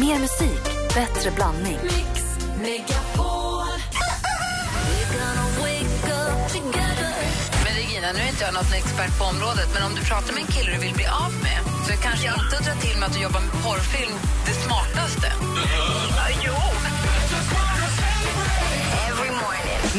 Mer musik, bättre blandning. Mix Megapol. Men Regina, nu är inte jag någon expert på området men om du pratar med en kille du vill bli av med så är kanske inte att dra till med att du jobbar med porrfilm det smartaste. jo!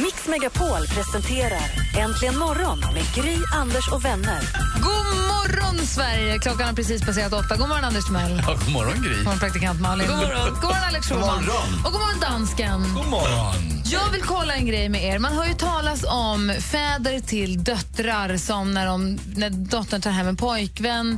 Mix Megapol presenterar Äntligen morgon med Gry, Anders och vänner. God morgon, Sverige! Klockan har precis passerat åtta. God morgon, Anders Timell. God Ja, god morgon, Gry. morgon, praktikant Malin. God morgon, god morgon Alex Schulman. God morgon. Och god morgon, dansken. God morgon. Jag vill kolla en grej med er. Man har ju talas om fäder till döttrar som när, de, när dottern tar hem en pojkvän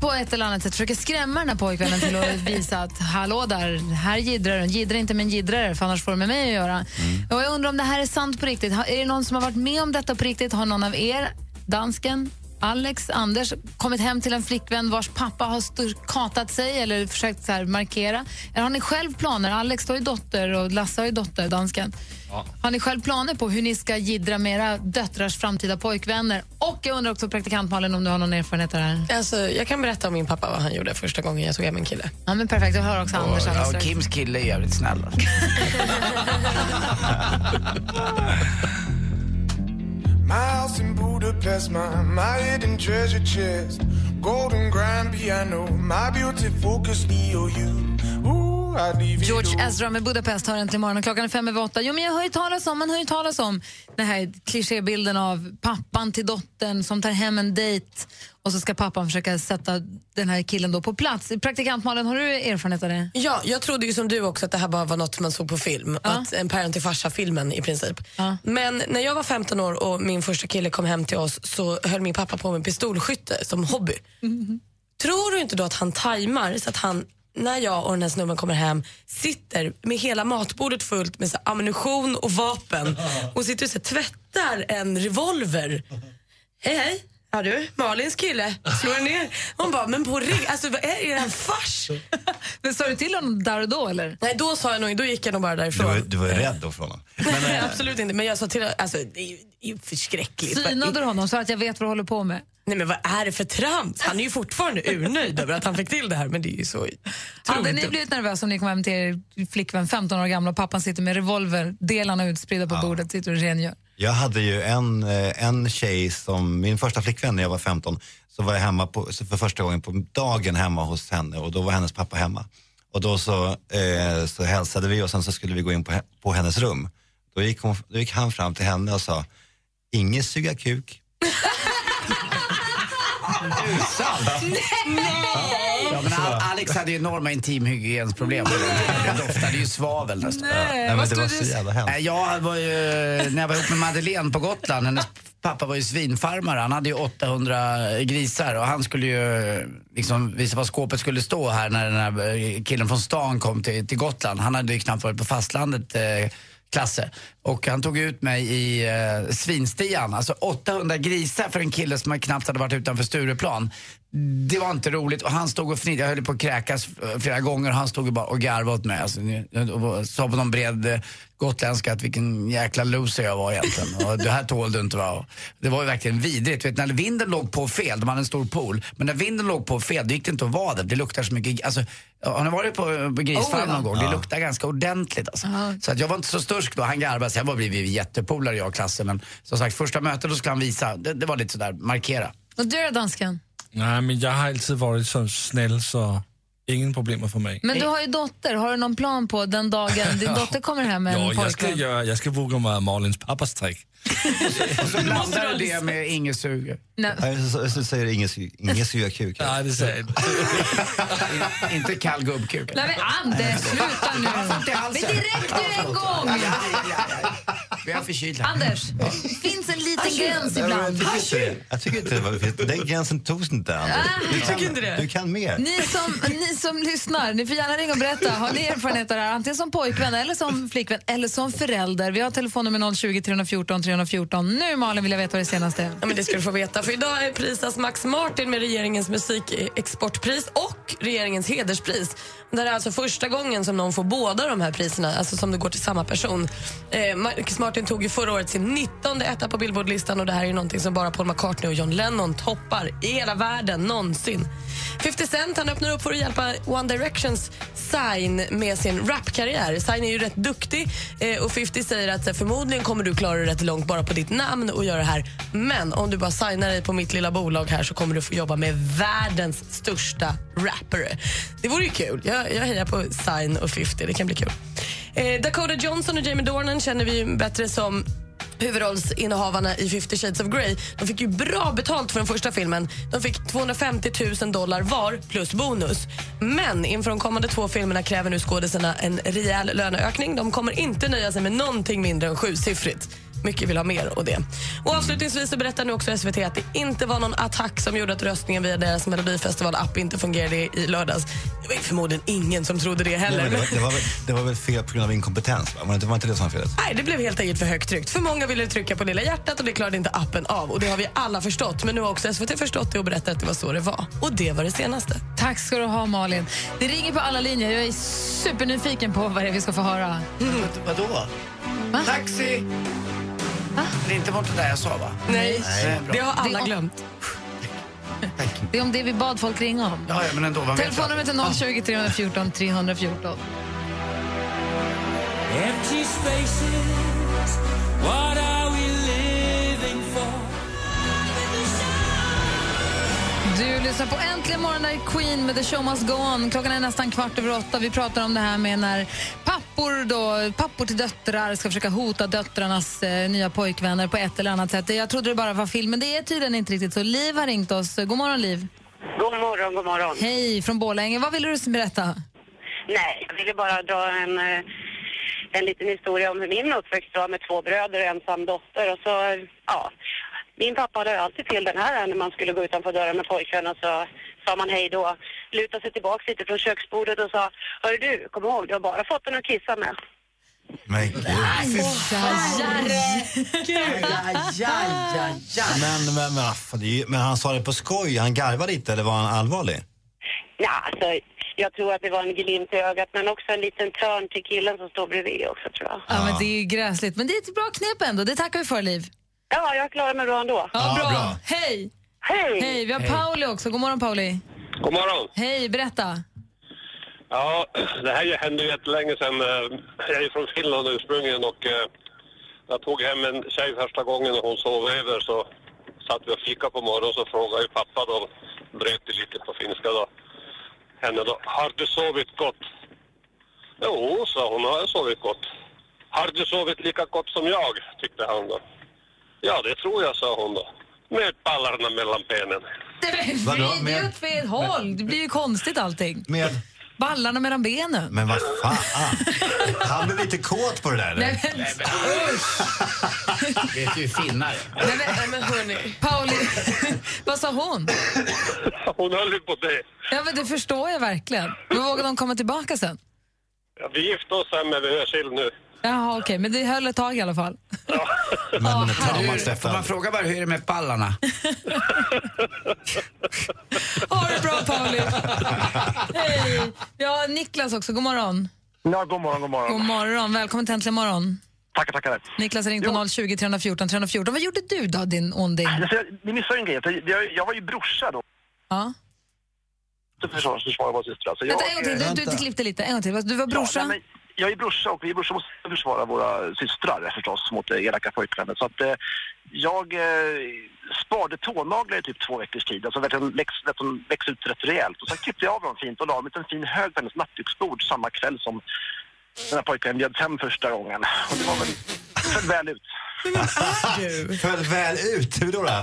på ett eller annat sätt försöker skrämma den här pojkvännen till att visa att hallå där, här jiddrar den. Jiddra inte med en jiddrare för annars får du med mig att göra. Och jag undrar om det här är sant på riktigt. Har- Är det någon som har varit med om detta på riktigt? Har någon av er, dansken, Alex, Anders, kommit hem till en flickvän vars pappa har stur- katat sig eller försökt så här markera? Eller har ni själv planer? Alex har ju dotter och Lasse har ju dotter, dansken. Har ni själv planer på hur ni ska jiddra med era döttrars framtida pojkvänner? Och jag undrar också praktikant Malin om du har någon erfarenhet av det här. Alltså, jag kan berätta om min pappa vad han gjorde första gången jag tog hem en kille. Ja, men perfekt, jag hör också Anders alldeles Ja, strax. Kims kille är jävligt snäll. alltså. My house in Budapest, my, my hidden treasure chest. Golden grand piano, my beauty focus EOU. Ooh, I'd leave it George all. Ezra med Budapest hör äntligen morgonen. Klockan är fem över åtta. Jo, men jag hör ju talas om, man hör ju talas om den här klichébilden av pappan till dottern som tar hem en dejt och så ska pappan försöka sätta den här killen då på plats. Praktikant Malin, har du erfarenhet av det? Ja, jag trodde ju som du också att det här bara var något man såg på film. Att en parent till farsa-filmen i princip. Ja. Men när jag var 15 år och min första kille kom hem till oss så höll min pappa på med pistolskytte som hobby. Tror du inte då att han tajmar så att han, när jag och den här snubben kommer hem, sitter med hela matbordet fullt med så här ammunition och vapen och sitter och så här, tvättar en revolver? Hej, hej. Ja du, Malins kille, slår ner. Hon bara, men på rygg, alltså vad är, är det en fars? Men sa du till honom där och då eller? Nej, då sa jag nog, då gick jag nog bara Du därifrån. var, du var ju rädd då för honom. Men, Nej, eh, absolut inte. Men jag sa till alltså det är ju- det är ju förskräckligt. Synade du Vad- honom så att jag vet vad du håller på med? Nej men vad är det för trams? Han är ju fortfarande urnöjd över att han fick till det här men det är ju så Hade ni otroligt dumt. blivit nervösa om ni kom hem till er flickvän, 15 år gamla, och pappan sitter med revolver, delarna utspridda på bordet, sitter och rengör? jag hade ju en, eh, en tjej som, min första flickvän när jag var 15, så var jag hemma på, så för första gången på dagen hemma hos henne och då var hennes pappa hemma. Och då så, eh, så hälsade vi och sen så skulle vi gå in på, he- på hennes rum. Då gick, hon, då gick han fram till henne och sa, inget suga kuk. Ja, men Al- Alex hade ju enorma intimhygiensproblem. Det doftade ju svavel nästan. Nej, men vad det stod var du- så jävla hemskt. Nej, Jag var ju, när jag var ihop med Madeleine på Gotland, hennes pappa var ju svinfarmare. Han hade ju 800 grisar och han skulle ju liksom visa var skåpet skulle stå här när den här eh, killen från stan kom till, till Gotland. Han hade ju knappt varit på fastlandet. Eh, Klasse. Och han tog ut mig i eh, svinstian. Alltså 800 grisar för en kille som knappt hade varit utanför Stureplan. Det var inte roligt och han stod och fnittrade. Jag höll på att kräkas eh, flera gånger och han stod och bara och garvade åt mig. Alltså, ni- och sa på någon bred eh, gotländska att vilken jäkla loser jag var egentligen. Och det här tål du inte va? Och Det var ju verkligen vidrigt. Vet, du, när vinden låg på fel, de hade en stor pool, men när vinden låg på fel då gick det inte att vara där. Det luktar så mycket. Alltså, har ni varit på, eh, på grisfarm Oh, ja. någon gång? Det luktar ganska ordentligt alltså. Så att jag var inte så stursk då. Han garvade. Sen var vi vi jättepolare jag och klassen. Men som sagt, första mötet då skulle han visa. Det, det var lite sådär, markera. Och du då dansken? Nej, men jag har alltid varit så snäll så ingen problem för mig. Men du har ju dotter, har du någon plan på den dagen din dotter kommer hem med en Ja, jag ska, pojkvän? göra, jag ska våga mig Malins pappas trick. Och så blandade du det med inget sug. Nej. Nej, så- så- så säger det, inget su- inget suga kuk. Nej, det säger jag inte. In, inte kall gubbkuk. Nej men Anders, sluta nu! inte Men alls. direkt nu en gång! Vi är förkylda. Anders, finns en liten gräns ibland. Jag tycker inte- Jag tycker inte det var Den gränsen togs inte än. Du kan, tycker inte det? Du kan mer. Ni som, ni som lyssnar, ni får gärna ringa och berätta. Har ni erfarenhet av det här? Antingen som pojkvän, eller som flickvän eller som förälder. Vi har telefonnummer 020 314 314. Nu Malin vill jag veta vad det senaste är. Ja, men det ska du få veta för idag är prisas Max Martin med regeringens musikexportpris och regeringens hederspris. Det här är alltså första gången som någon får båda de här priserna, alltså som det går till samma person. Eh, Max Martin McCartney tog ju förra året sin 19 etta på Billboardlistan och det här är ju någonting som bara Paul McCartney och John Lennon toppar i hela världen någonsin. 50 Cent han öppnar upp för att hjälpa One Directions Sign med sin rapkarriär. Sign är ju rätt duktig eh, och 50 säger att så här, förmodligen kommer du klara dig rätt långt bara på ditt namn och göra det här. Men om du bara signar dig på mitt lilla bolag här så kommer du få jobba med världens största rappare. Det vore ju kul. Jag, jag hejar på Sign och 50. Det kan bli kul. Eh, Dakota Johnson och Jamie Dornan känner vi ju bättre som huvudrollsinnehavarna i 50 shades of Grey. De fick ju bra betalt för den första filmen. De fick 250 000 dollar var plus bonus. Men inför de kommande två filmerna kräver nu skådisarna en rejäl löneökning. De kommer inte nöja sig med någonting mindre än sjusiffrigt. Mycket vill ha mer och det. Och avslutningsvis så berättar nu också SVT att det inte var någon attack som gjorde att röstningen via deras Melodifestival-app inte fungerade i i lördags. Det var ju förmodligen ingen som trodde det Nej, heller. men det, var, det, var väl, det var väl fel på grund av inkompetens? Va? Var det inte- var inte det som var felet? Nej, det blev helt enkelt för högt tryckt. För många ville trycka på lilla hjärtat och det klarade inte appen av. Och det har vi alla förstått. Men nu har också SVT förstått det och berättat att det var så det var. Och det var det senaste. Tack ska du ha, Malin. Det ringer på alla linjer. Jag är supernyfiken på vad det är vi ska få höra. Vad- Vadå? Taxi! Det är inte mot det där jag sa va? Nej, Nej, bra. det har alla Det- glömt. Det är om det vi bad folk ringa om. Ja, ja, men ändå. vad vet jag? Telefonnumret är 020 314 314. Du lyssnar på Äntligen morgon där Queen med The Show Must Go On. Klockan är nästan kvart över åtta. Vi pratar om det här med när pappor, då, pappor till döttrar ska försöka hota döttrarnas eh, nya pojkvänner på ett eller annat sätt. Jag trodde det bara var film, men det är tydligen inte riktigt så. Liv har ringt oss. God morgon, Liv. God morgon, god morgon. Hej från Borlänge. Vad ville du berätta? Nej, jag ville bara dra en, eh, en liten historia om hur min uppväxt var med två bröder och ensam dotter. Och så, eh, ja. Min pappa hade alltid till den här när man skulle gå utanför dörren med pojkarna så sa man hej då, lutade sig tillbaka lite från köksbordet och sa Hör du, kom ihåg, du har bara fått den att kissa med. Men gud. Men, men, men, ah, fan, det är ju- men han sa det på skoj, han garvade lite eller var han allvarlig? Ja, alltså, jag tror att det var en glimt i ögat men också en liten törn till killen som står bredvid också tror jag. Ja, men det är ju gräsligt, men det är ett bra knep ändå. Det tackar vi för, Liv. Ja, jag klarar mig bra ändå. Ja, Ja, bra. bra. Hej! Hej! Hej, vi har Pauli också. God morgon, Pauli. God morgon. Hej, berätta. Ja, det här hände ju jättelänge sedan. eh, Jag är ju från Finland ursprungligen och eh, jag tog hem en tjej första gången och hon sov över så satt vi och fika på morgonen så frågade ju pappa då, bröt det lite på finska då, henne då, har du sovit gott? Jo, sa hon, har jag sovit gott. Har du sovit lika gott som jag? tyckte han då. Ja, det tror jag, sa hon då. Med ballarna mellan benen. Det Vadå? är ju åt fel håll. Det blir ju konstigt allting. Med, Ballarna mellan benen. men vad fan? Han blev lite kåt på det där. eller? Nej, men, Det heter ju finnar. nej, men, Men hörni, Pauli, vad sa hon? Hon höll ju på det. Ja, men det förstår jag verkligen. Men vågade de komma tillbaka sen? Ja, vi gifte oss sen men vi hörs till nu. Jaha, okej, men det höll ett tag i alla fall. Men Åh, herregud. traumat Hur, får man efter fråga bara hur är det med pallarna? Ha det bra, Pauli. Hej. Ja, Niklas också. God morgon. Ja, god morgon, god morgon. God morgon. Välkommen till Äntligen morgon. Tackar, tackar. Alltså, Niklas har ringt på 020 314 314. Vad gjorde du då, din onding? Alltså, jag- ni missar ju en grej. för Jag, jag var ju brorsa då. Ja. Så försvarar försvara våra systrar. Så jag, Vänta, en gång till. Du, du, du klippte lite. En gång till. Vad- Du var Ja, brorsa? nej, men jag är brorsa och vi är brorsa måste försvara våra systrar förstås mot eh, elaka pojkvänner. Så att eh, jag eh, sparade tånaglar i typ två veckors tid. Alltså verkligen läx, lät dem växa ut rätt rejält. Och sen klippte jag av dem fint och la dem i en fin hög på hennes nattduksbord samma kväll som den här pojken bjöds hem första gången. Och det var väl, föll väl ut. det. Föll väl ut, hur då? då?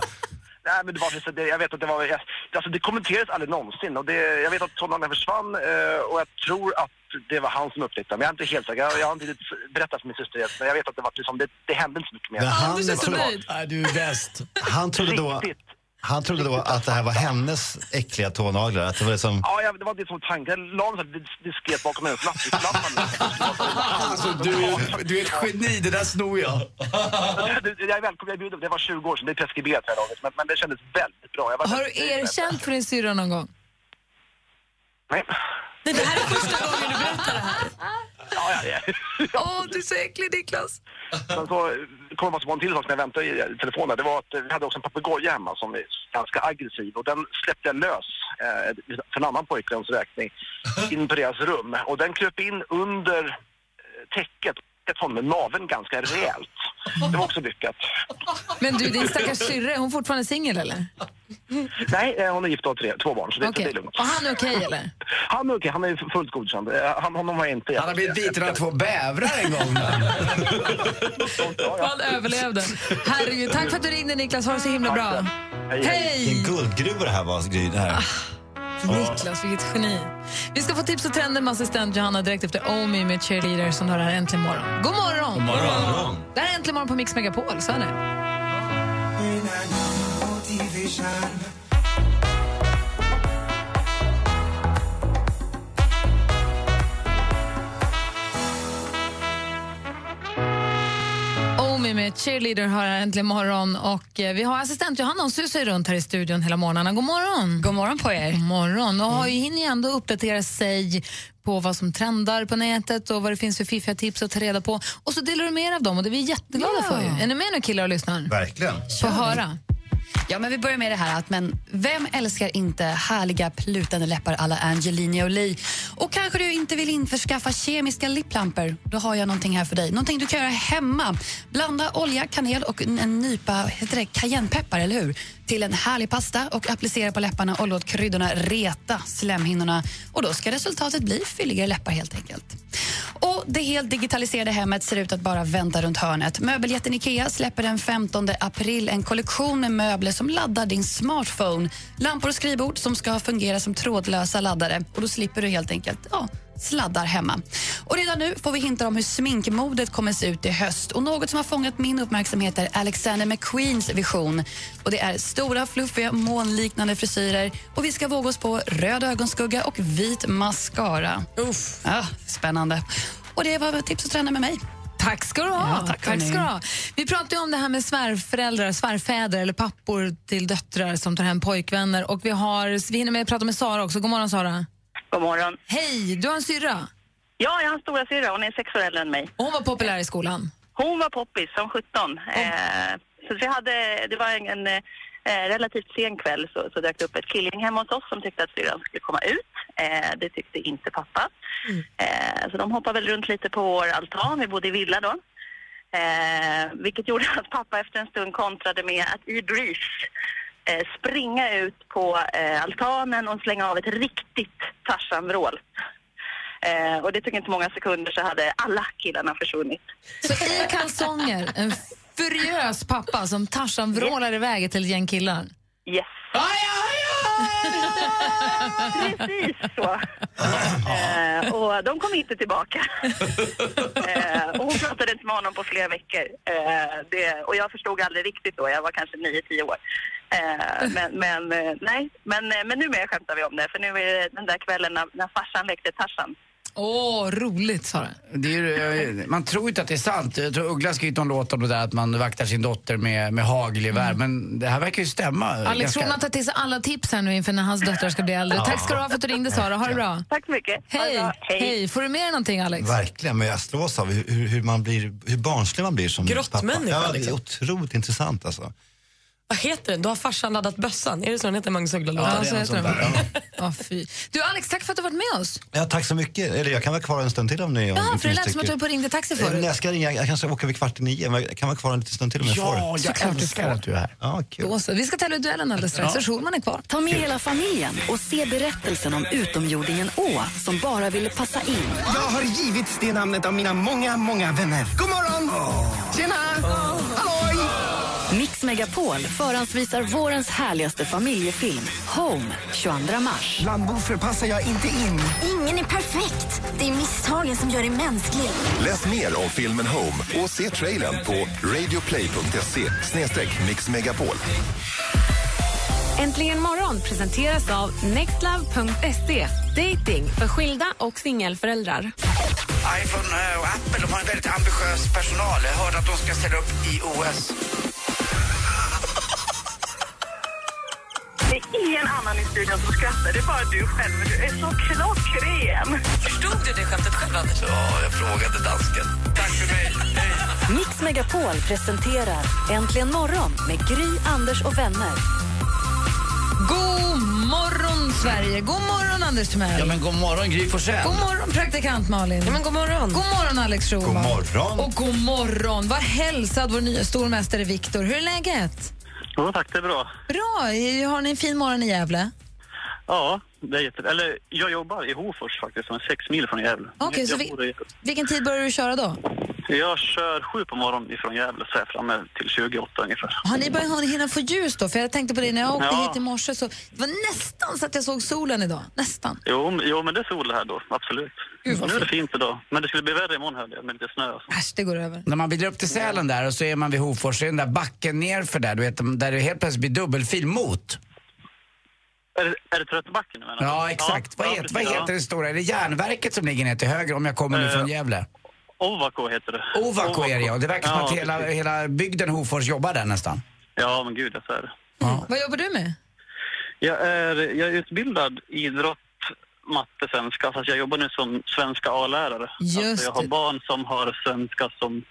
Nej, men det var precis, det- jag vet att det var, jag- alltså det kommenterades aldrig någonsin och det, jag vet att tonåringarna försvann eh, och jag tror att det var han som upptäckte dem. Jag är inte helt säker, jag, jag har inte riktigt berättat för min syster det, men jag vet att det var liksom, det, det hände inte så mycket mer. Men han, Anders är så förlåt, nöjd. Nej, du är bäst. han trodde då... Riktigt. Han trodde då att det här var hennes äckliga tånaglar. Att det var liksom... Ja, jag, det var det som var tanken. Jag la dem så här diskret bakom hennes nattdukslampa. Alltså, du, är- du är ett geni, det där snor jag. jag är välkommen, jag bjuder på det. Det var 20 år sedan, det är preskriberat för det här laget, men, men det kändes väldigt bra. Jag var Har du väldigt nöjd med det. erkänt för din syrra någon gång? Nej. Nej, det här är första gången du berättar det här. Ja, ja, Åh, du är så äcklig Niklas. Sen så kom jag på en till sak när jag väntade i telefonen. Det var att vi hade också en papegoja hemma som är ganska aggressiv och den släppte jag lös eh, för en annan pojkväns räkning in på deras rum. Och den kröp in under eh, täcket täcket honom med naveln ganska rejält. Det var också lyckat. Men du, din stackars syrra, är hon fortfarande singel eller? Nej, eh, hon är gift och har tre, två barn så det, Okej. det är lugnt. Och han är okej eller? Han är okej, han är fullt godkänd. Eh, Han, honom har jag inte... Han har blivit biten av två bävrar en gång. Han överlevde. Herregud, tack för att du ringde Niklas. Ha det så himla bra. Hej! Ah, Vilken guldgruva det här var, Gry. Det här. Niklas, vilket geni. Vi ska få tips och trender med assistent Johanna direkt efter Omi med Cheerleader som hör här äntligen morgon. God morgon! God morgon. God morgon. Det här är Äntligen morgon på Mix Megapol, så är det. Omi Oh, med Cheerleader har här äntligen morgon och eh, vi har assistent Johanna hon susar ju runt här i studion hela morgnarna. God morgon! God morgon på er! God morgon! Mm. Och har ju hinner ju ändå uppdatera sig på vad som trendar på nätet och vad det finns för fiffiga tips att ta reda på. Och så delar du med er av dem och det är vi jätteglada för. Ju. Är ni med nu killar och lyssnar? Verkligen. Få höra. Ja, men vi börjar med det här att men vem älskar inte härliga plutande läppar alla Angelina Jolie? Och kanske du inte vill införskaffa kemiska lipplampor? Då har jag någonting här för dig. Någonting du kan göra hemma. Blanda olja, kanel och en- en nypa heter det, cayennepeppar, eller hur? Till en härlig pasta och applicera på läpparna och låt kryddorna reta slemhinnorna. Och då ska resultatet bli fylligare läppar helt enkelt. Och Det helt digitaliserade hemmet ser ut att bara vänta runt hörnet. Möbeljätten Ikea släpper den 15 april en kollektion med möbler som laddar din smartphone. Lampor och skrivbord som ska fungera som trådlösa laddare. Och Då slipper du helt enkelt ja, sladdar hemma. Och Redan nu får vi hintar om hur sminkmodet kommer se ut i höst. Och Något som har fångat min uppmärksamhet är Alexander McQueens vision. Och Det är stora, fluffiga, månliknande frisyrer och vi ska våga oss på röd ögonskugga och vit mascara. Uff. Ja, spännande. Och det var tips och träna med mig. Tack ska du ha. Ja, tack, tack ska du hörni. ha. Vi pratade ju om det här med svärföräldrar, svärfäder eller pappor till döttrar som tar hem pojkvänner. Och vi, har, vi hinner med att prata med Sara också. God morgon Sara. God morgon. Hej, du har en syrra. Ja, jag har en stora syrra. Hon är sex år äldre än mig. Hon var populär i skolan. Hon var poppis som 17. Eh, så vi hade, det var en, en eh, relativt sen kväll så, så dök det upp ett killgäng hemma hos oss som tyckte att syrran skulle komma ut. Eh, det tyckte inte pappa. Eh, så de hoppade väl runt lite på vår altan. Vi bodde i villa då. Eh, vilket gjorde att pappa efter en stund kontrade med att i brief eh, springa ut på eh, altanen och slänga av ett riktigt Tarzan-vrål. Eh, och det tog inte många sekunder så hade alla killarna försvunnit. Så i kalsonger, en furiös pappa som Tarzan vrålar iväg till ett gäng killar. Yes. Precis så. Eh, och de kom inte tillbaka. eh, och hon pratade inte med honom på flera veckor. Eh, det, och jag förstod aldrig riktigt då, jag var kanske 9-10 år. Eh, men, men, eh, nej. men, eh, men numera skämtar vi om det, för nu är det den där kvällen när, när farsan lekte Tarzan. Åh, roligt Sara. Det är, ju- eh, man tror inte att det är sant. Jag tror Uggla har skrivit någon låt om det där att man vaktar sin dotter med, med hagelgevär. Men det här verkar ju stämma. Alex ganska- Ronan tar till sig alla tips här nu inför när hans döttrar ska bli äldre. Ja. Tack ska du ha för att du ringde Sara. Ha det bra. Tack så mycket. Hej. Hej. Får du med dig någonting Alex? Verkligen, men jag slås av hur, hur, hur man blir, hur barnslig man blir som pappa. Grottmänniska, Ja, det är liksom. otroligt intressant alltså. Vad heter den? Då har farsan laddat bössan. Är det så den heter, Magnus Uggla? Ja, det är något sånt där, Ja, fy. Du Alex, tack för att du varit med oss. Ja, tack så mycket. Eller jag kan vara kvar en stund till om ni om Ja, ni för det lät som att du tycker. höll på att ringa taxi Eh, men förut. Jag ska ringa, jag kanske åker vid kvart i nio, men jag kan vara kvar en liten stund till om jag Ja, får. jag Såklart du älskar får. att du är här. Ja, kul. Då så. Vi ska tävla i duellen alldeles strax. Ja. Ja. Schulman är kvar. Ta med hela familjen och se berättelsen om utomjordingen Å som bara ville passa in. Jag har givits det namnet av mina många, många vänner. God morgon! Tjena! Halloj! Mix Megapol förhandsvisar vårens härligaste familjefilm Home 22 mars. Bland boffer passar jag inte in. Ingen är perfekt. Det är misstagen som gör dig mänsklig. Läs mer om filmen Home och se trailern på radioplay.se mixmegapol. Äntligen morgon presenteras av nextlove.se. Dating för skilda och singelföräldrar. iPhone eh, och Apple de har en väldigt ambitiös personal. Jag hörde att de ska ställa upp i OS. Det är ingen annan i studion som skrattar, det är bara du själv. Du är så klockren. Förstod du det skämtet själv? tävlande. Ja, jag frågade dansken. Tack för mig. Mix Megapol presenterar Äntligen morgon med Gry, Anders och vänner. God morgon, Sverige! God morgon, Anders Timell! Ja, men god morgon, Gry Forssell. God morgon, praktikant Malin. Ja, men god morgon. God morgon, Alex Schulman. God morgon. Och god morgon. Var hälsad, vår nya stormästare Viktor. Hur är läget? Ja, tack, det är bra. Bra. Har ni en fin morgon i Gävle? Ja, det är jätte... Eller, jag jobbar i Hofors faktiskt, som är sex mil från Gävle. Okej, jag, så jag, vi- bor i- Vilken tid börjar du köra då? jag kör sju på morgonen ifrån Gävle så är jag framme till 28 ungefär. Har ni börjat har ni hinna få ljus då? För jag tänkte på det när jag åkte Ja. hit i morse så det var nästan så att jag såg solen idag. Nästan. Jo, m- jo, men det är sol här då, absolut. nu är det fint idag, men det skulle bli värre imorgon hörde jag, med lite snö. och så. Äsch, det går över. När man bilar upp till Sälen där och så är man vid Hofors, så är den där backen nerför där, du vet, där det helt plötsligt blir dubbelfil mot. Är, det- är det Tröttebacken du menar? Ja, exakt. vad, heter, vad precis, heter det stora? Är det järnverket som ligger ner till höger om jag kommer nu Eh, från Gävle? Ovako heter det. Ovako är det ja. Det verkar som Ja, att hela, precis. hela bygden Hofors jobbar där nästan. Ja, men gud, ja, så är det. Vad jobbar du med? Jag är, jag är utbildad i idrott, matte, svenska. Fast jag jobbar nu som svenska A-lärare. Alltså, Just jag har barn som har svenska som...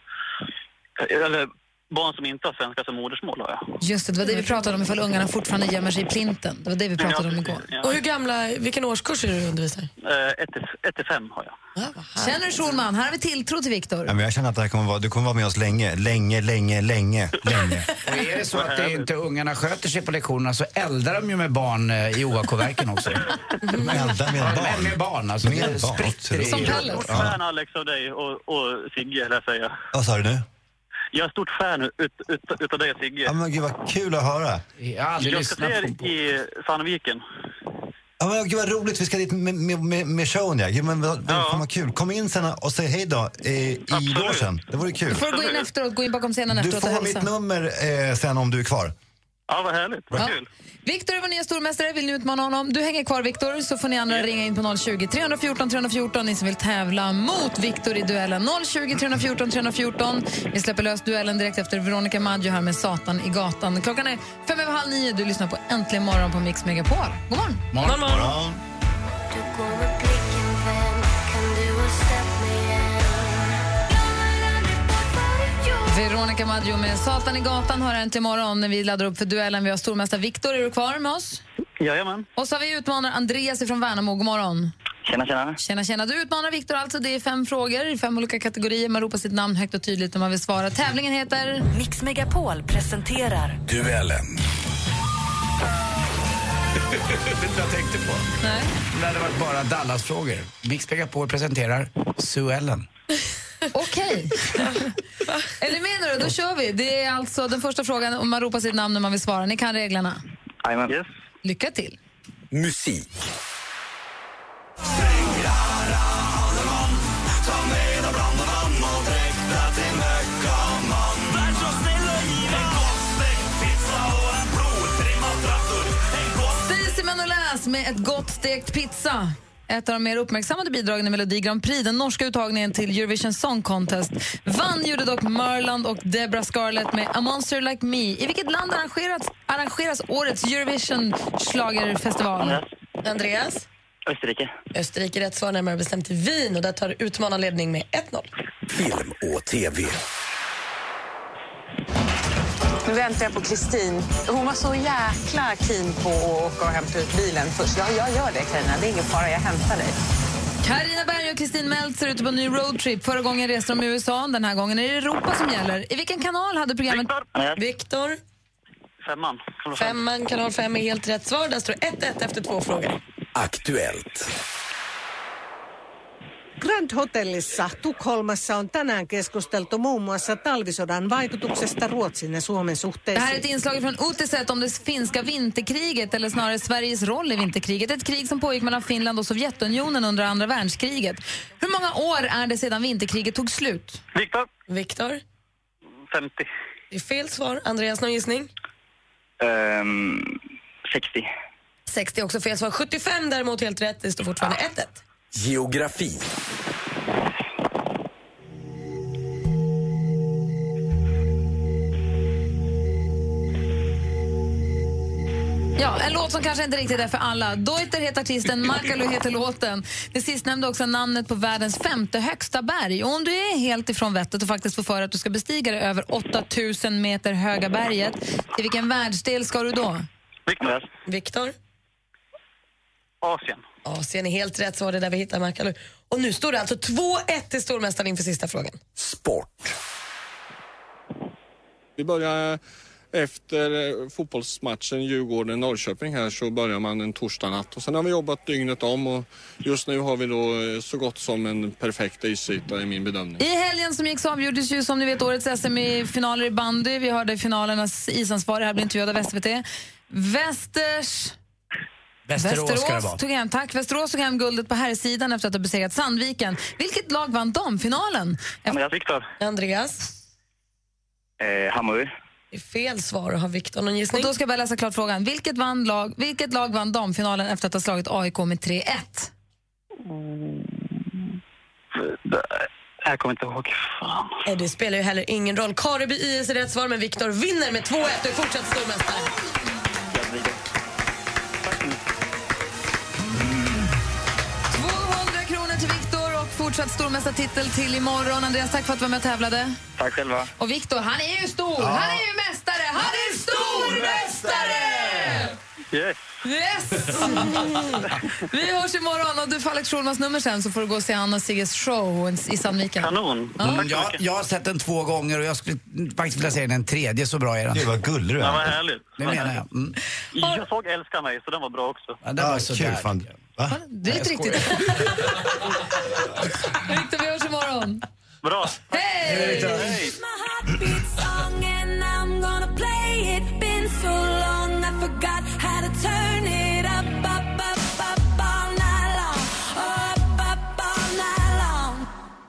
Eller barn som inte har svenska som modersmål har jag. Just det, det var det vi pratade om ifall ungarna fortfarande gömmer sig i plinten. Det var det vi pratade om igår. Ja. Och hur gamla, vilken årskurs är det du undervisar? Eh, ett till- ett till fem har jag. Känner du Schulman? Här har vi tilltro till Viktor. Ja, men jag känner att det här kommer vara, du kommer vara med oss länge, länge, länge, länge, länge. Och är det så att det inte ungarna sköter sig på lektionerna så eldar de ju med barn eh, i OAK-verken också. De eldar med barn. Med barn alltså. Med det barn, spritter otroligt. i... Som Jag är Pelle. stort fan Alex av dig och, och Sigge, vill jag säga. Vad sa du nu? Jag är stort fan ut, ut, utav dig Sigge. Ja, men gud vad kul att höra. Jag har jag ska se er i Sandviken. Ja, men gud vad roligt, vi ska dit med, med, med, med showen ja. Gud, men vad, fan vad kul. Kom in sen och säg hej då eh, i logen. Det vore Du kul. får gå in efteråt, gå in bakom scenen Du efteråt och får hälsa. mitt nummer eh, sen om du är kvar. Ja, vad härligt. Vad kul. Viktor är vår nya stormästare. Vill ni utmana honom? Du hänger kvar, Viktor, så får ni andra ringa in på 020 314 314. Ni som vill tävla mot Viktor i duellen. 020 314 314. Vi släpper lös duellen direkt efter Veronica Maggio här med Satan i gatan. Klockan är fem över halv nio. Du lyssnar på Äntligen morgon på Mix Megapol. God morgon! Morgon, morgon. Du går med blicken vän, kan du ha sett mig Veronica Maggio med Satan i gatan har Äntligen morgon när vi laddar upp för duellen. Vi har stormästare Viktor. Är du kvar med oss? Jajamän. Och så har vi utmanare Andreas från Värnamo. God morgon! Tjena, tjena. Tjena, tjena. Du utmanar Viktor alltså. Det är fem frågor i fem olika kategorier. Man ropar sitt namn högt och tydligt när man vill svara. Tävlingen heter... Mix Megapol presenterar Duellen. Vet du vad jag tänkte på? Nej. Det hade varit bara Dallas-frågor. Mix Megapol presenterar Sue Ellen. Okej. är ni med nu då? Då kör vi. Det är alltså den första frågan om man ropar sitt namn när man vill svara. Ni kan reglerna. Jajamän. Lycka till. Musik. Stacy Manoläs med ett gott stekt pizza. Ett av de mer uppmärksammade bidragen i Melodi Grand Prix, den norska uttagningen till Eurovision Song Contest. Vann gjorde dock Merland och Deborah Scarlett med A Monster Like Me. I vilket land arrangeras, arrangeras årets Eurovision schlagerfestival? Andreas? Österrike. Österrike rätt svar närmare bestämt i Wien och där tar utmanaren ledning med 1-0. Film och TV. Nu väntar jag på Kristin. Hon var så jäkla keen på att åka och hämta ut bilen först. Ja, jag gör det, Carina. Det är ingen fara. Jag hämtar dig. Carina Berg och Kristin Meltzer är ute på en ny roadtrip. Förra gången reste de i USA, den här gången är det Europa som gäller. I vilken kanal hade programmet... Viktor. Femman. Femman, kanal 5 är helt rätt svar. Där står 1-1 efter två frågor. Aktuellt. Grand Hotellissa Tukholmassa on tänään keskusteltu muun muassa talvisodan vaikutuksesta Ruotsin ja Suomen Det suhteisiin. här är ett inslag från Otiset om det finska vinterkriget, eller snarare Sveriges roll i vinterkriget. Ett krig som pågick mellan Finland och Sovjetunionen under andra världskriget. Hur många år är det sedan vinterkriget tog slut? Viktor. Viktor. 50. Det är fel svar. Andreas, någon gissning? Ehm, 60. 60 är också fel svar. 75 däremot helt rätt. Det står fortfarande 1-1. Geografi. Ja, Ja, en låt som kanske inte riktigt är för alla. Deuter heter artisten, Markalu heter låten. Det sistnämnda är också namnet på världens femte högsta berg. Och om du är helt ifrån vettet och faktiskt får för att du ska bestiga det över 8000 meter höga berget, till vilken världsdel ska du då? Viktor. Viktor? Asien. Asien är helt rätt svar, det är där vi hittar Markalu. Och nu står det alltså 2-1 till stormästaren inför sista frågan. Sport. Vi börjar efter eh, fotbollsmatchen Djurgården-Norrköping här så börjar man en torsdagnatt och sen har vi jobbat dygnet om och just nu har vi då eh, så gott som en perfekt isyta i min bedömning. I helgen som gick så avgjordes ju som ni vet årets SM i finaler i bandy. Vi hörde finalernas isansvarig här blir intervjuad av SVT. Västers... Västerås ska det vara. tog hem, tack. Västerås tog hem guldet på här sidan efter att ha besegrat Sandviken. Vilket lag vann damfinalen? Andreas Viktor. Andreas? Eh, Hammarby. Det är fel svar. Har Viktor någon gissning? Och då ska jag bara läsa klart frågan. Vilket, vann lag, vilket lag vann damfinalen efter att ha slagit AIK med 3-1? Jag kommer inte ihåg. Fan. Eh, Det spelar ju heller ingen roll. Kareby IS är rätt svar, men Viktor vinner med 2-1 och är fortsatt stormästare. Kronor till Viktor och fortsatt stormästartitel till imorgon. Andreas, tack för att du var med och tävlade. Tack själva. Och Viktor, han är ju stor! Ja. Han är ju mästare! Han är stormästare! Yes. Yes! Vi hörs imorgon. Och du får Alex Schulmans nummer sen så får du gå och se Anna och Sigges show i Sandviken. Kanon. Mm, jag, jag har sett den två gånger och jag skulle faktiskt vilja se den en tredje, så bra är den. Gud, vad gullig du är. Ja, Ja, vad härligt. Det Vad menar härligt. jag. Mm. Jag såg Älska mig, så den var bra också. Ja, det var så kul, där. fan. Va? Det är inte riktigt. Viktor, vi hörs imorgon. Bra. Hej! Hej.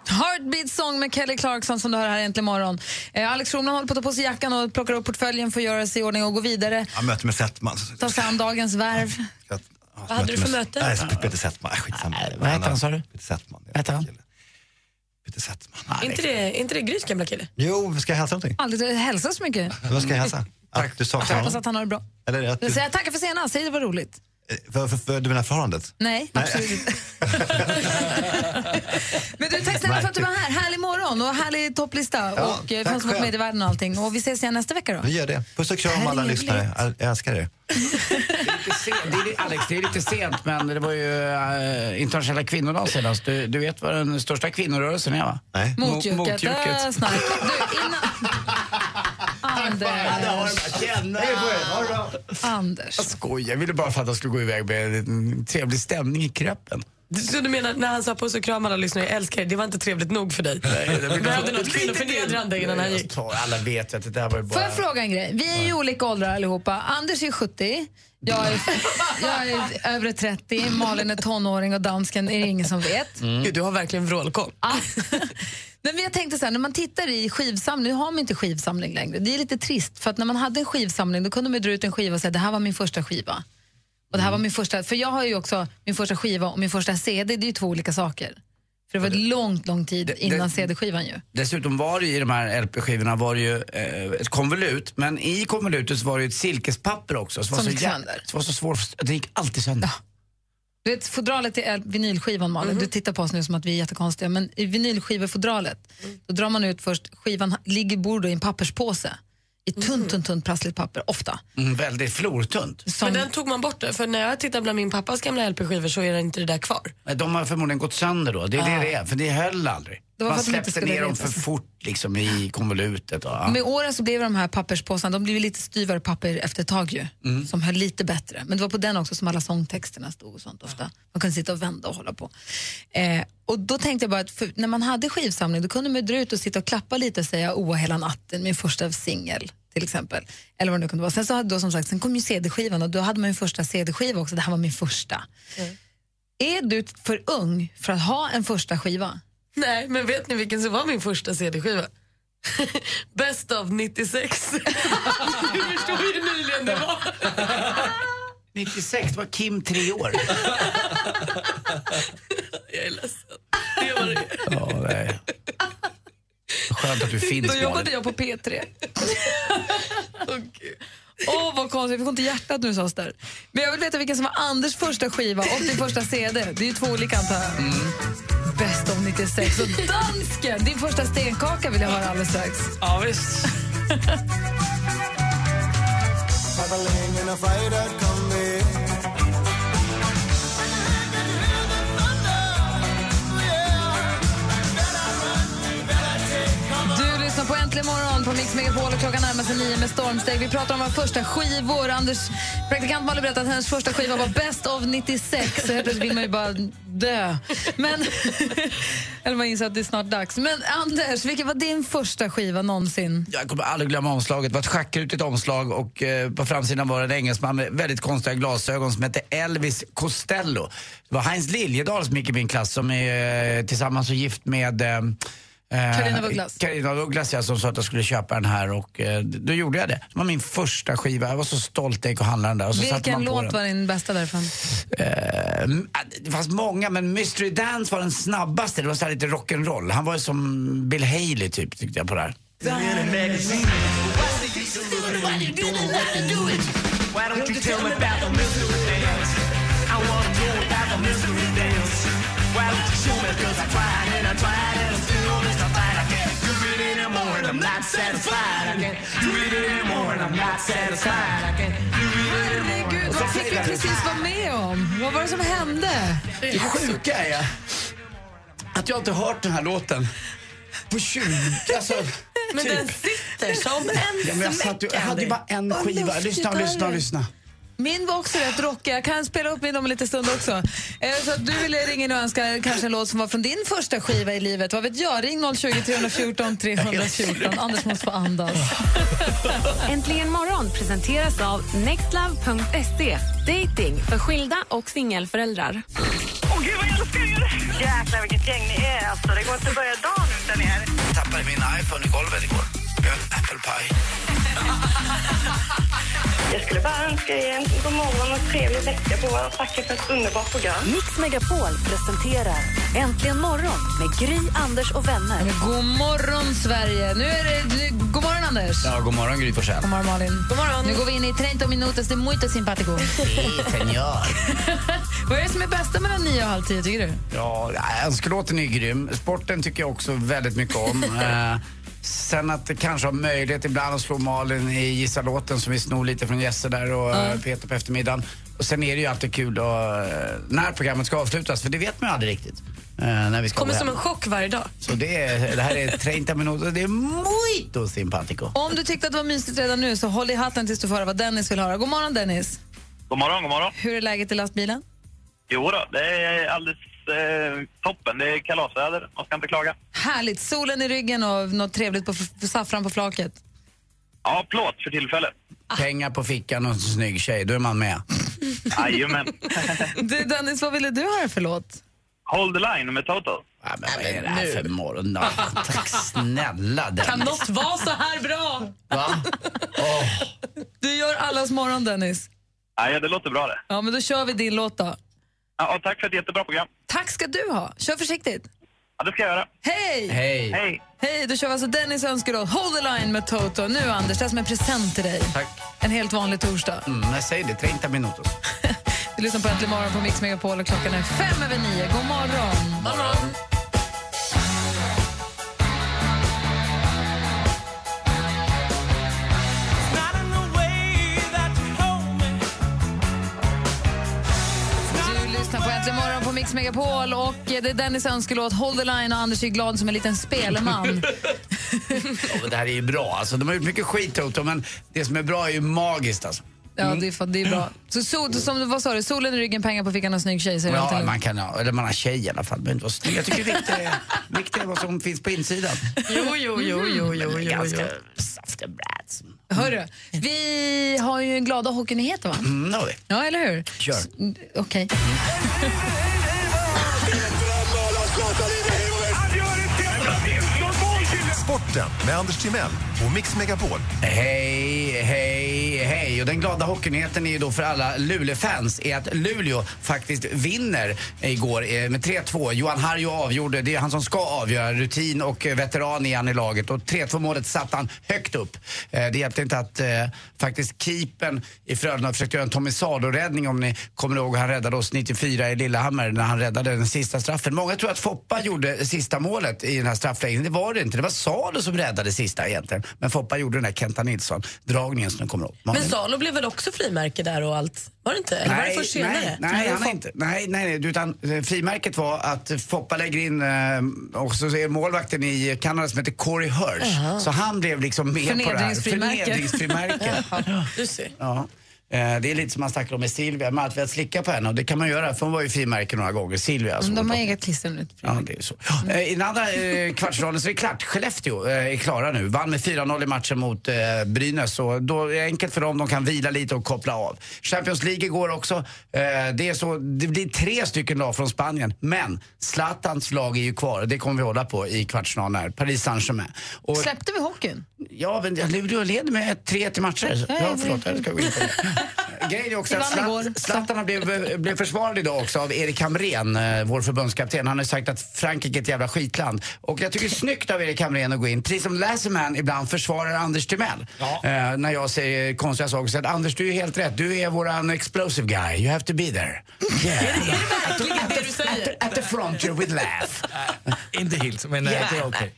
Heartbeat Song med Kelly Clarkson som du hör här äntligen imorgon. Eh, Alex Schulman håller på att ta på sig jackan och plockar upp portföljen för att göra sig i ordning och gå vidare. Jag möter med Settman. Så- Ta sig an dagens värv. Vad hade du för möte? Nej, Peter Settman. Äh, Skitsamma. vad heter han, sa du? Peter Settman. Vad heter han? Peter Settman. Inte det, inte det Grys gamla kille? Jo, ska jag hälsa någonting? Aldrig hälsa så mycket. Vad ska jag Mm. hälsa? Att du Jag saknar hoppas honom? att han har det bra. Eller att du, Jag säger tackar för senast, säg det var roligt. för, för, för, du menar förhållandet? Nej, Nej. absolut inte. Men du, tack snälla för att du var här. Härlig morgon och härlig topplista Ja, och eh, tack fanns mot själv. medievärlden och allting. Och vi ses igen nästa vecka då. Vi gör det. Puss och kram alla Trevligt. lyssnare. Al- Jag älskar er. Det är, li- Alex, det är lite sent, men det var ju eh, internationella kvinnodagen senast. Du, du vet vad den största kvinnorörelsen är, va? Nej. Mo- Motjucket. Äh, snack. Du, innan... Anders. Anders. Jag skojar, jag ville bara för att jag skulle gå iväg med en liten trevlig stämning i kroppen. Så du menar när han sa puss och kram alla lyssnare, jag älskar er, det var inte trevligt nog för dig? Du behövde något kvinnoförnedrande innan han Jag gick. tar- Alla vet ju att det där var ju bara... Får jag fråga en grej? Vi är ju olika åldrar allihopa. Anders är 70, jag är, jag är över 30, Malin är tonåring och dansken är det ingen som vet. Mm. Gud, du har verkligen vrålkoll. Ah. Nej, men jag tänkte så här, när man tittar i skivsamling, nu har man inte skivsamling längre. Det är lite trist, för att när man hade en skivsamling då kunde man ju dra ut en skiva och säga det här var min första skiva. Och det här var min första, för jag har ju också min första skiva och min första CD, det är ju två olika saker. För det var ett långt, lång tid innan CD-skivan ju. Dessutom var det ju i de här LP-skivorna var det ju eh, ett konvolut, men i konvolutet så var det ju ett silkespapper också. Som var gick så jä- sönder. Som var så svårt, det gick alltid sönder. Du vet, fodralet i el- vinylskivan, Malin, du tittar på oss nu som att vi är jättekonstiga, men i vinylskivefodralet, då drar man ut först, skivan ligger bor då i en papperspåse. I tunt, tunt, tunt prassligt papper, ofta. Mm, väldigt flortunt. Men den tog man bort, för när jag tittar bland min pappas gamla LP-skivor så är det inte det där kvar. Nej, De har förmodligen gått sönder då, det är Ah. det det är, för det höll aldrig. Det var Man för att de inte släppte skulle ner dem för retas. fort liksom i konvolutet. Och, ja. Med åren så blev de här papperspåsarna, de blev ju lite styvare papper efter ett tag ju, Mm. som höll lite bättre. Men det var på den också som alla sångtexterna stod och sånt ofta. Man kunde sitta och vända och hålla på. Eh, och då tänkte jag bara att för, när man hade skivsamling då kunde man ju dra ut och sitta och klappa lite och säga Oa hela natten, min första singel till exempel. Eller vad det nu kunde vara. Sen så hade då som sagt, sen kom ju CD-skivan och då hade man ju första CD-skiva också, det här var min första. Är du för ung för att ha en första skiva? Nej, men vet ni vilken som var min första CD-skiva? Best of 96. du förstår ju hur nyligen det var. 96 var Kim tre år. Jag är ledsen. Det var det. Ja, nej. Skönt att du finns Då Malin. jobbade jag på P3. Åh, gud. Åh, vad konstigt. Vi får inte hjärtat nu, sades där. Men jag vill veta vilken som var Anders första skiva och din första CD. Det är ju två olika, antar jag. Mm. Bäst om 96. Och dansken, din första stenkaka vill jag höra alldeles strax. Ja, visst. Du lyssnar på Äntligen morgon på Mix Megapol och klockan närmar sig nio med stormsteg. Vi pratar om våra första skivor. Anders, praktikant Malin berättade att hennes första skiva var Best of 96. Så helt plötsligt vill man ju bara dö. Men, eller man inser att det är snart dags. Men Anders, vilken var din första skiva någonsin? Jag kommer aldrig glömma omslaget. Det var ett schackrutigt omslag och eh, på framsidan var det en engelsman med väldigt konstiga glasögon som hette Elvis Costello. Det var Heinz Liljedahl som gick i min klass som är eh, tillsammans och gift med eh, eh, Carina af Ugglas. Carina af Ugglas, ja, som sa att jag skulle köpa den här och eh, då gjorde jag det. Det var min första skiva. Jag var så stolt när jag gick och handlade den där. Och så satte Vilken man på låt den. var din bästa därifrån? Eh, det fanns många, men Mystery Dance var den snabbaste. Det var så här lite rock'n'roll. Han var ju som Bill Haley typ, tyckte jag på det här. Why don't you tell me about the mystery dance? I want to know about the mystery dance. Why don't you show me? Cause I tried and I tried and I'm still mystified. I can't do it anymore and I'm not satisfied. I can't do it anymore and I'm not satisfied. I can't do it anymore. Gud, vad fick vi precis vara med om? Vad var det som hände? Det sjuka är jag, att jag inte hört den här låten på 20... Alltså, Men typ. den sitter som en ja, men jag, satt, ju- jag hade ju bara en Vad skiva. lustigt Lyssna, det här lyssna, är. lyssna. Min var också rätt rockig. Jag kan spela upp min om en liten stund också. Eh, Så att du ville ringa in och önska kanske en låt som var från din första skiva i livet. Vad vet jag? Ring 020 314 314. Anders måste få andas. Äntligen morgon presenteras av nextlove.se. Dating för skilda och singelföräldrar. Åh gud vad jag älskar er! Jäklar vilket gäng ni är alltså. Det går inte att börja dagen utan er. Jag tappade min iPhone i golvet igår. Jag åt apple pie. Jag skulle bara önska er en god morgon och trevlig vecka på er och tacka för ett underbart program. Mix Megapol presenterar Äntligen morgon med Gry, Anders och vänner. God morgon, Sverige! Nu är det... nu- God morgon, Anders! Ja, god morgon Gry Forssell. God morgon, Malin. God morgon. Nu går vi in i 30 minutos de muito simpático. Senor. Vad är det som är bästa mellan nio och halv tio, tycker du? Ja, önskelåten är grym. Sporten tycker jag också väldigt mycket om. Eh, Sen att det kanske har möjlighet ibland att slå Malin i Gissa-låten som vi snor lite från Jesse där och eh, Peter på eftermiddagen. Och sen är det ju alltid kul att, eh, när programmet ska avslutas, för det vet man ju aldrig riktigt. eh, När vi ska Kommer gå som hem. en chock varje dag. Så det, är, det här är 30 minuter, det är muito simpatico. Om du tyckte att det var mysigt redan nu, så håll i hatten tills du får höra vad Dennis vill höra. God morgon, Dennis! God morgon, god morgon. Hur är läget i lastbilen? Jo då, det är alldeles eh, toppen. Det är kalasväder. Man ska inte klaga. Härligt! Solen i ryggen och något trevligt på f- saffran på flaket. Ja, plåt för tillfället. Ah. Pengar på fickan och en snygg tjej, då är man Mm. med. Jajamän. Du, Dennis, vad ville du höra för låt? Hold the line med Toto. Ja, men vad är det här för morgon? Tack snälla Dennis. Kan något vara så här bra? Va? Du gör allas morgon, Dennis. Ja, det låter bra det. Ja, men då kör vi din låt då. Ja, och tack för ett jättebra program. Tack ska du ha. Kör försiktigt. Ja, det ska jag göra. Hej! Hej. Hej. Hej, då kör vi alltså Dennis önskelåt Hold the line med Toto. Nu Anders, det är som en present till dig. Tack. En helt vanlig torsdag. Mm, jag säger det, 30 minuter. Du lyssnar på Äntligen morgon på Mix Megapol och klockan är fem över nio. God morgon! Du lyssnar på Äntligen morgon på Mix Megapol och eh, det är Dennis önskelåt Hold the line och Anders är glad som en liten Mm. spelman. Ja, men det här är ju bra. Alltså, de har gjort mycket skit Toto, men det som är bra är ju magiskt. Alltså. Ja, det är, fan- det är bra. Så sol, som du vad sa du, solen i ryggen, pengar på fickan och snygg tjej. Så är det Ja, alltid man kan ha, eller man har tjej i alla fall. Men inte vara snygg. Jag tycker det viktiga är, viktiga är vad som finns på insidan. Jo, jo, jo, jo, jo, Mm. Det är jo, ganska jo. soft and brats. Hörru, vi har ju glada hockeynyheter va? Mm, det har vi. Ja, eller hur? Kör. S- mm, Okej. Sporten med Anders Timell på Mix Megapol. Hej, hej, hej. Och den glada hockeynyheten är ju då för alla Luleå-fans är att Luleå faktiskt vinner igår eh, med 3-2. Johan Harju avgjorde, det är han som ska avgöra, rutin och eh, veteran är han i laget. Och 3-2 målet satte han högt upp. Eh, Det hjälpte inte att eh, faktiskt keepern i Frölunda försökte göra en Tommy Salo-räddning om ni kommer ihåg. Han räddade oss 94 i Lillehammer när han räddade den sista straffen. Många tror att Foppa gjorde sista målet i den här straffläggningen. Det var det inte. Det var Salo som räddade sista egentligen. Men Foppa gjorde den där Kenta Nilsson-dragningen som ni kommer ihåg. Men Salo blev väl också frimärke där och allt? Var det inte? Eller var det först senare? Nej, nej, han är inte, nej, nej, nej, utan eh, frimärket var att Foppa lägger in, eh, och så är målvakten i Kanada som heter Corey Hirsch. Jaha. Så han blev liksom med på det här. Förnedringsfrimärke. Förnedringsfrimärke. Jaha, du ser. Ja. Eh, Det är lite som man snackar om med Silvia, med att vi har slickat på henne och det kan man göra för hon var ju frimärke några gånger, Silvia. som De hon har eget klister nu. Ja, det är så. Eh, I den andra eh, kvartsfinalen så är det klart. Skellefteå eh, är klara nu. Vann med 4-0 i matchen mot eh, Brynäs. Så då är det enkelt för dem. De kan vila lite och koppla av. Champions League igår också. Eh, det, är så, det blir tre stycken lag från Spanien. Men Zlatans lag är ju kvar. Det kommer vi hålla på i kvartsfinalen här. Paris Saint-Germain. Och, Släppte vi hockeyn? ja, men Luleå leder med 3-1 i matcher. Nej, Ja, det- förlåt. Jag ska gå in på det. Grejen är också att Det vann igår. Zlat- Zlatan blev, blev försvarad idag också av Erik Hamrén, eh, vår förbundskapten. Han har sagt att Frankrike är ett jävla skitland. Och jag tycker det är snyggt av Erik Hamrén att gå in, precis som Lasseman ibland försvarar Anders Timell. Eh, när jag säger konstiga saker. Så att Anders, du är helt rätt. Du är våran explosive guy. You have to be there. Yeah. Verkligen det du säger. At the front you're with laugh. Inte helt, men eh, det är okej.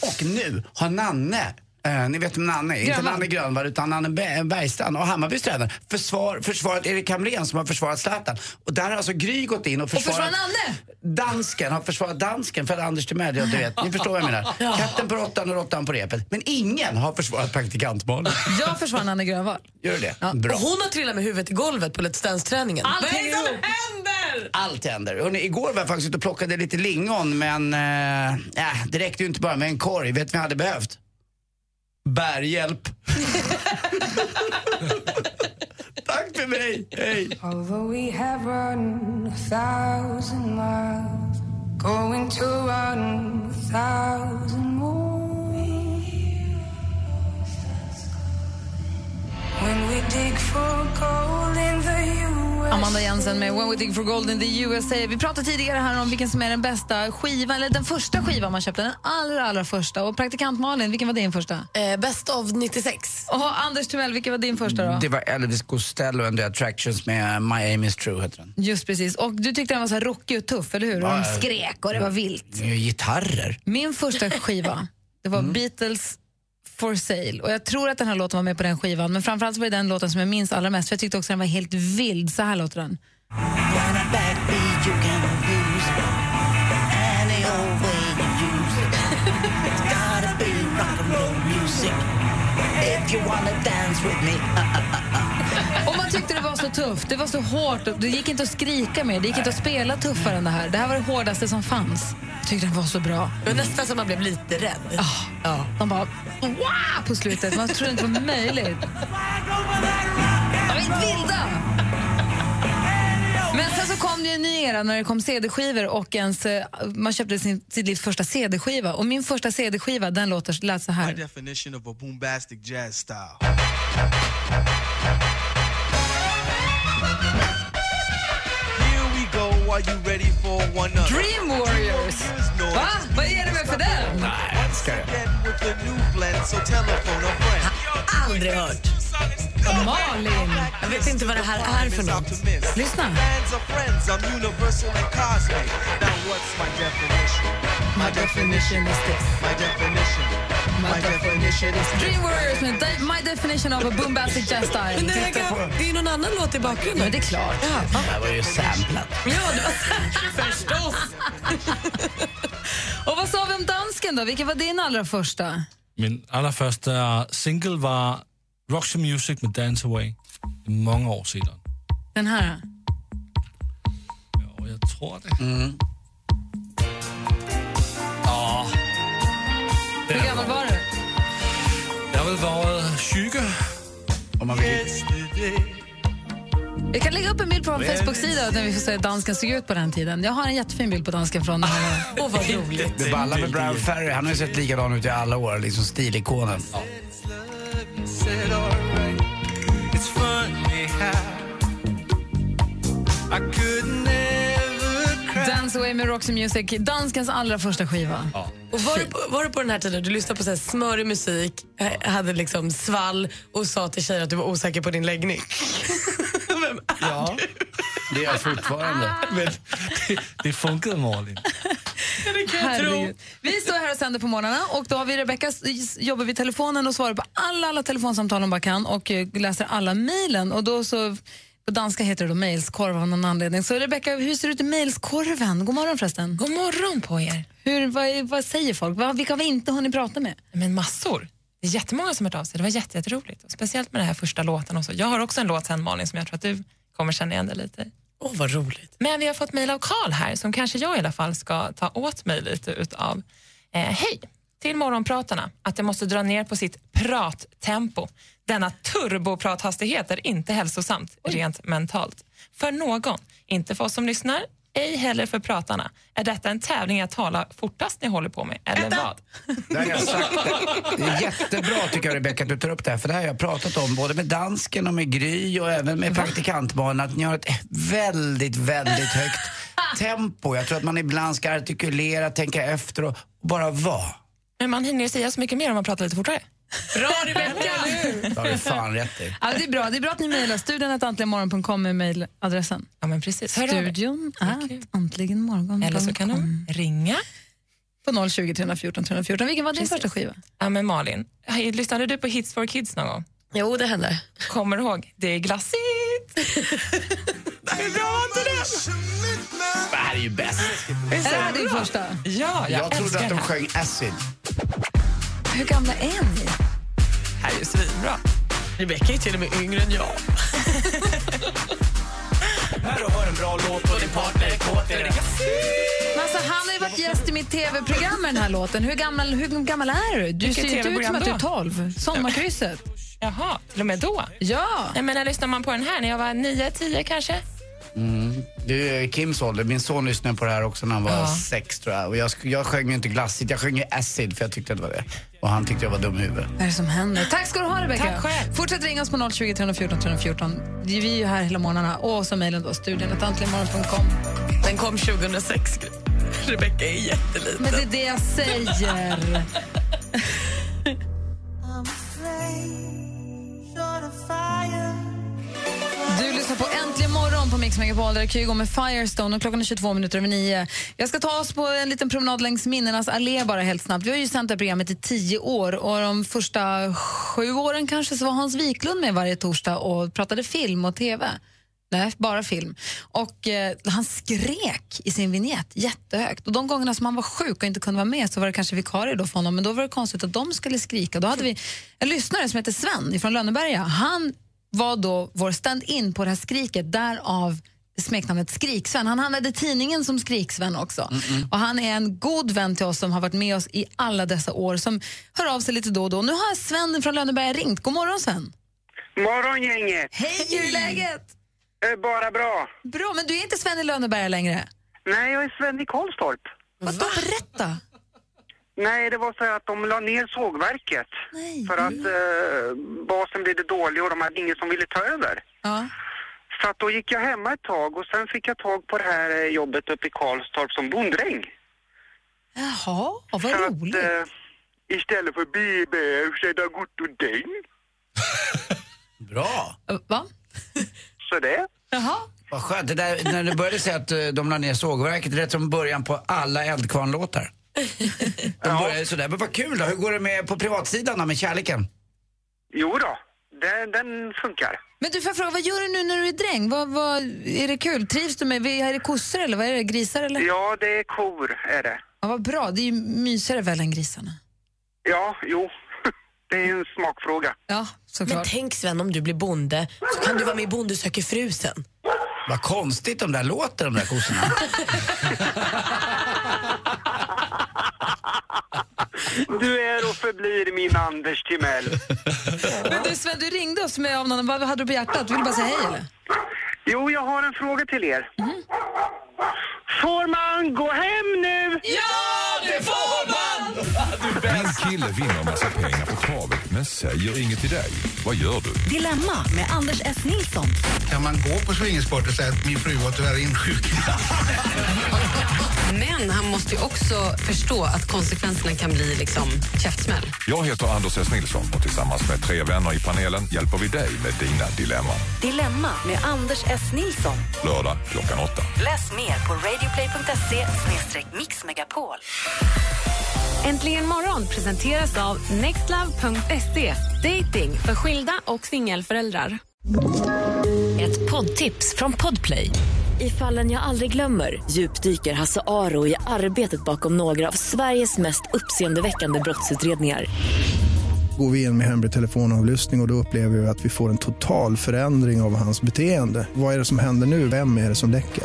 Och nu har Nanne eh, ni vet vem Nanne är, inte Grönvall. Nanne Grönvall utan Nanne Be- Bergstrand och Hammarbys tränare försvar, försvarat Erik Hamrén som har försvarat Zlatan. Och där har alltså Gry gått in och Och försvarat, försvarar Nanne? dansken, har försvarat dansken för att Anders Timell, ja, du vet, ni förstår vad jag menar. Ja. Katten på råttan och råttan på repet. Men ingen har försvarat praktikant Malin. Jag försvann Anne Grönvall. Gör du det? Ja. Bra. Och hon har trillat med huvudet i golvet på Let's Dance-träningen. Allt Vad är det hänger som ihop. händer? Allt händer. Hörrni, igår var jag faktiskt ute och plockade lite lingon men eh, äh, det räckte ju inte bara med en korg. Vet ni vad jag hade behövt? Bärhjälp. Tack för mig. Hej. Although we have run a thousand miles, going to run a thousand more. When we dig for gold in the US. Amanda Jensen med When We Dig For Gold in the USA. Vi pratade tidigare här om vilken som är den bästa skivan, eller den första skivan man köpte, den allra, allra första. Och praktikant Malin, vilken var din första? Eh, Best of 96. Och Anders Timell, vilken var din första då? Det var Elvis Costello and the Attractions med My Aim Is True heter den. Just precis. Och du tyckte den var så här rockig och tuff, eller hur? Och de Ja, ja. skrek och det var vilt. Det är ju Gitarrer. Min första skiva, det var Beatles For Sale. Och jag tror att den här låten var med på den skivan, men framförallt så var det den låten som jag minns allra mest, för jag tyckte också den var helt vild. Så här låter den. backbeat you can abuse any old way you use it. It's gotta be rock and roll music if you wanna dance with me. uh, Och man tyckte det var så tufft, det var så hårt, och det gick inte att skrika mer, det gick inte att spela tuffare än det här. Det här var det hårdaste som fanns. Jag tyckte den var så bra. Det var nästan som man blev lite rädd. Ja. De bara wow på slutet, man trodde inte det var möjligt. uh. De är inte vilda! Men sen så kom det ju en ny era när det kom CD-skivor och ens, eh, man köpte sin, sitt livs första CD-skiva. Och min första CD-skiva, den låter, lät så My här. definition of a boombastic jazz style. Here we go, are you ready for one of Dream Warriors! Va? Vad är det med för den? Nej, jag älskar det. With a new blend, so telephone a friend. Aldrig hört. Malin! Jag vet inte vad det här är för något. Lyssna. Fans are friends, I'm universal and cosmic. Now what's my definition? My definition is this. My definition. My definition is this. Dream Warriors med De- My Definition of a Boombastic Jazz Style. Men det är- det är någon annan låt i bakgrunden. Men det är klart. Det här var ju samplat. Ja, det var förstås. Och vad sa vi om dansken då? Vilken var din allra första? Min allerførste single var Roxy Music med Dance Away. Det er mange år siden. Den här? Og jeg tror det. Mhm. Mm. Hur gammal var du? Jeg har vel været syge. Om man vil. Vi kan lägga upp en bild på vår Facebook-sida när vi får se hur dansken såg ut på den tiden. Jag har en jättefin bild på dansken från den här. Åh, vad roligt. Det ballar med Brian Ferry, han har ju sett likadan ut i alla år, liksom stilikonen. said, all right. It's funny how I could never cry. Dance Away med Roxy Music, danskens allra första skiva. Och var, du på, var du på den här tiden du lyssnade på så här smörig musik, eh, hade liksom svall och sa till tjejer att du var osäker på din läggning? Ja, det är jag fortfarande. Men det, det funkade Malin. Herregud. Vi står här och sänder på morgnarna och då har vi Rebecka s- jobbar vid telefonen och svarar på alla, alla telefonsamtal hon bara kan och eh, läser alla mejlen. Och då så, på danska heter det då mejlskorv av någon anledning. Så Rebecka, hur ser det ut i mejlskorven? God morgon förresten. God morgon på er. Hur, vad, är- vad säger folk? Vad, vilka har vi inte hunnit prata med? Men massor. Det är jättemånga som har hört av sig. Det var jätte- jätteroligt. Och speciellt med den här första låten. Och så. Jag har också en låt sen, Malin, som jag tror att du kommer känna igen dig lite i. Åh, vad roligt. Men vi har fått mejl av Karl här som kanske jag i alla fall ska ta åt mig lite utav. Eh, hej! Till morgonpratarna att jag måste dra ner på sitt prattempo. Denna turboprathastighet är inte hälsosamt rent mentalt. För någon, inte för oss som lyssnar, ej heller för pratarna. Är detta en tävling att tala fortast ni håller på med, eller vad? Det har jag sagt. Det är jättebra tycker jag Rebecka att du tar upp det här för det här har jag pratat om både med dansken och med Gry och även med praktikantbarnen att ni har ett väldigt, väldigt högt tempo. Jag tror att man ibland ska artikulera, tänka efter och bara vara. Men man hinner ju säga så mycket mer om man pratar lite fortare. Bra Rebecka! Det har du fan rätt i. Ja, det, är bra. det är bra att ni mejlar studion att antligenmorgon.com är mejladressen. Ja, men precis. Hör av er. Studion att antligenmorgon.com. Eller så kan de ringa. På 020 314 314. Vilken var din första skiva? Ja, men Malin, hej, lyssnade du på Hits for Kids någon gång? Jo, det hände. Kommer du ihåg? Det är glassigt! det är bra inte det? Det här är ju bäst. Är det här din första? Ja, jag, Jag trodde älskar det att de här. sjöng acid. Hur gamla är ni? Det här är ju svinbra. Rebecka är ju till och med yngre än jag. Här och hör en bra låt och din partner är kåt. Är det Men alltså, han har ju varit gäst i mitt tv-program med den här låten. Hur gammal, hur gammal är du? Du Vilket ser ju inte ut som TV-program att du då? är 12. Sommarkrysset. Jaha, till och med då? Ja. Nej, men när lyssnade man på den här? När jag var 9-10 kanske? Mm. Det är Kims ålder. Min son lyssnade på det här också när han var Ja. sex tror jag. Och jag, sk- jag sjöng ju inte glassigt, jag sjöng ju acid för jag tyckte att det var det. Och han tyckte jag var dum i huvudet. Vad är det som händer? Tack ska du ha, Rebecca. Tack själv. Fortsätt ringa oss på 020 314 314. Vi är ju här hela morgnarna. Och så mejlen då, studion att antligenmorgon.com. Den kom 2006. Rebecka är jätteliten. Men det är det jag säger. Du lyssnar på Äntligen morgon på Mix Megapol där det är Kygo med Firestone och klockan är 22 minuter över nio. Jag ska ta oss på en liten promenad längs minnenas allé bara helt snabbt. Vi har ju sänt det här programmet i tio år och de första sju åren kanske så var Hans Wiklund med varje torsdag och pratade film och tv. Nej, bara film. Och eh, han skrek i sin vignett jättehögt. Och de gångerna som han var sjuk och inte kunde vara med så var det kanske vikarie då för honom. Men då var det konstigt att de skulle skrika. Då hade vi en lyssnare som heter Sven från Lönneberga. Han var då vår stand-in på det här skriket, därav smeknamnet Skriksven. Han hamnade i tidningen som Skriksven också. Och han är en god vän till oss som har varit med oss i alla dessa år, som hör av sig lite då och då. Nu har Sven från Lönneberga ringt. God morgon Sven! Morgon gänget! Hej, hur är läget? Eh, Bara bra. Bra, men du är inte Sven i Lönneberga längre? Nej, jag är Sven i Karlstorp. Vadå, berätta! Nej, det var så här att de la ner sågverket Nej. Mm. för att eh, basen blev det dålig och de hade ingen som ville ta över. Ja. Så att då gick jag hemma ett tag och sen fick jag tag på det här eh, jobbet uppe i Karlstorp som bondräng. Jaha, vad roligt. Eh, istället för BB, ursäkta gott och däng. Bra. Va? Så det. Jaha. Vad skönt. Det där, när du började säga att eh, de la ner sågverket, det lät som början på alla Eldkvarn-låtar. De började sådär. Men vad kul då. Hur går det med på privatsidan då, med kärleken? Jo då, den, den funkar. Men du, får jag fråga, vad gör du nu när du är dräng? Vad, vad, är det kul? Trivs du med, är det kossor eller vad är det, grisar eller? Ja, det är kor är det. Ja, vad bra, det är ju mysigare väl än grisarna. Ja, jo. Det är en smakfråga. Ja, Men tänk Sven, om du blir bonde så kan du vara med i Bonde söker fru sen. Vad konstigt de där låter, de där kossorna. Du är och förblir min Anders Timell. Men du Sven, du ringde oss med av någon, vad hade du på hjärtat? Vill du bara säga hej eller? Jo, jag har en fråga till er. Får man gå hem nu? Ja, det får man! Din kille vinner massa pengar på travet men säger inget till dig. Vad gör du? Dilemma med Anders S. Nilsson. Kan man gå på swingersport och säga att min fru var tyvärr insjuknad? Men han måste ju också förstå att konsekvenserna kan bli liksom käftsmäll. Jag heter Anders S. Nilsson och tillsammans med tre vänner i panelen hjälper vi dig med dina dilemman. Dilemma med Anders S. Nilsson. Lördag klockan åtta. Läs mer på radioplay.se mixmegapol. Äntligen morgon presenteras av nextlove.se. Dating för skilda och singelföräldrar. Ett poddtips från Podplay. I fallen jag aldrig glömmer djupdyker Hasse Aro i arbetet bakom några av Sveriges mest uppseendeväckande brottsutredningar. Går vi in med hemlig telefonavlyssning och, och då upplever vi att vi får en total förändring av hans beteende. Vad är det som händer nu? Vem är det som läcker?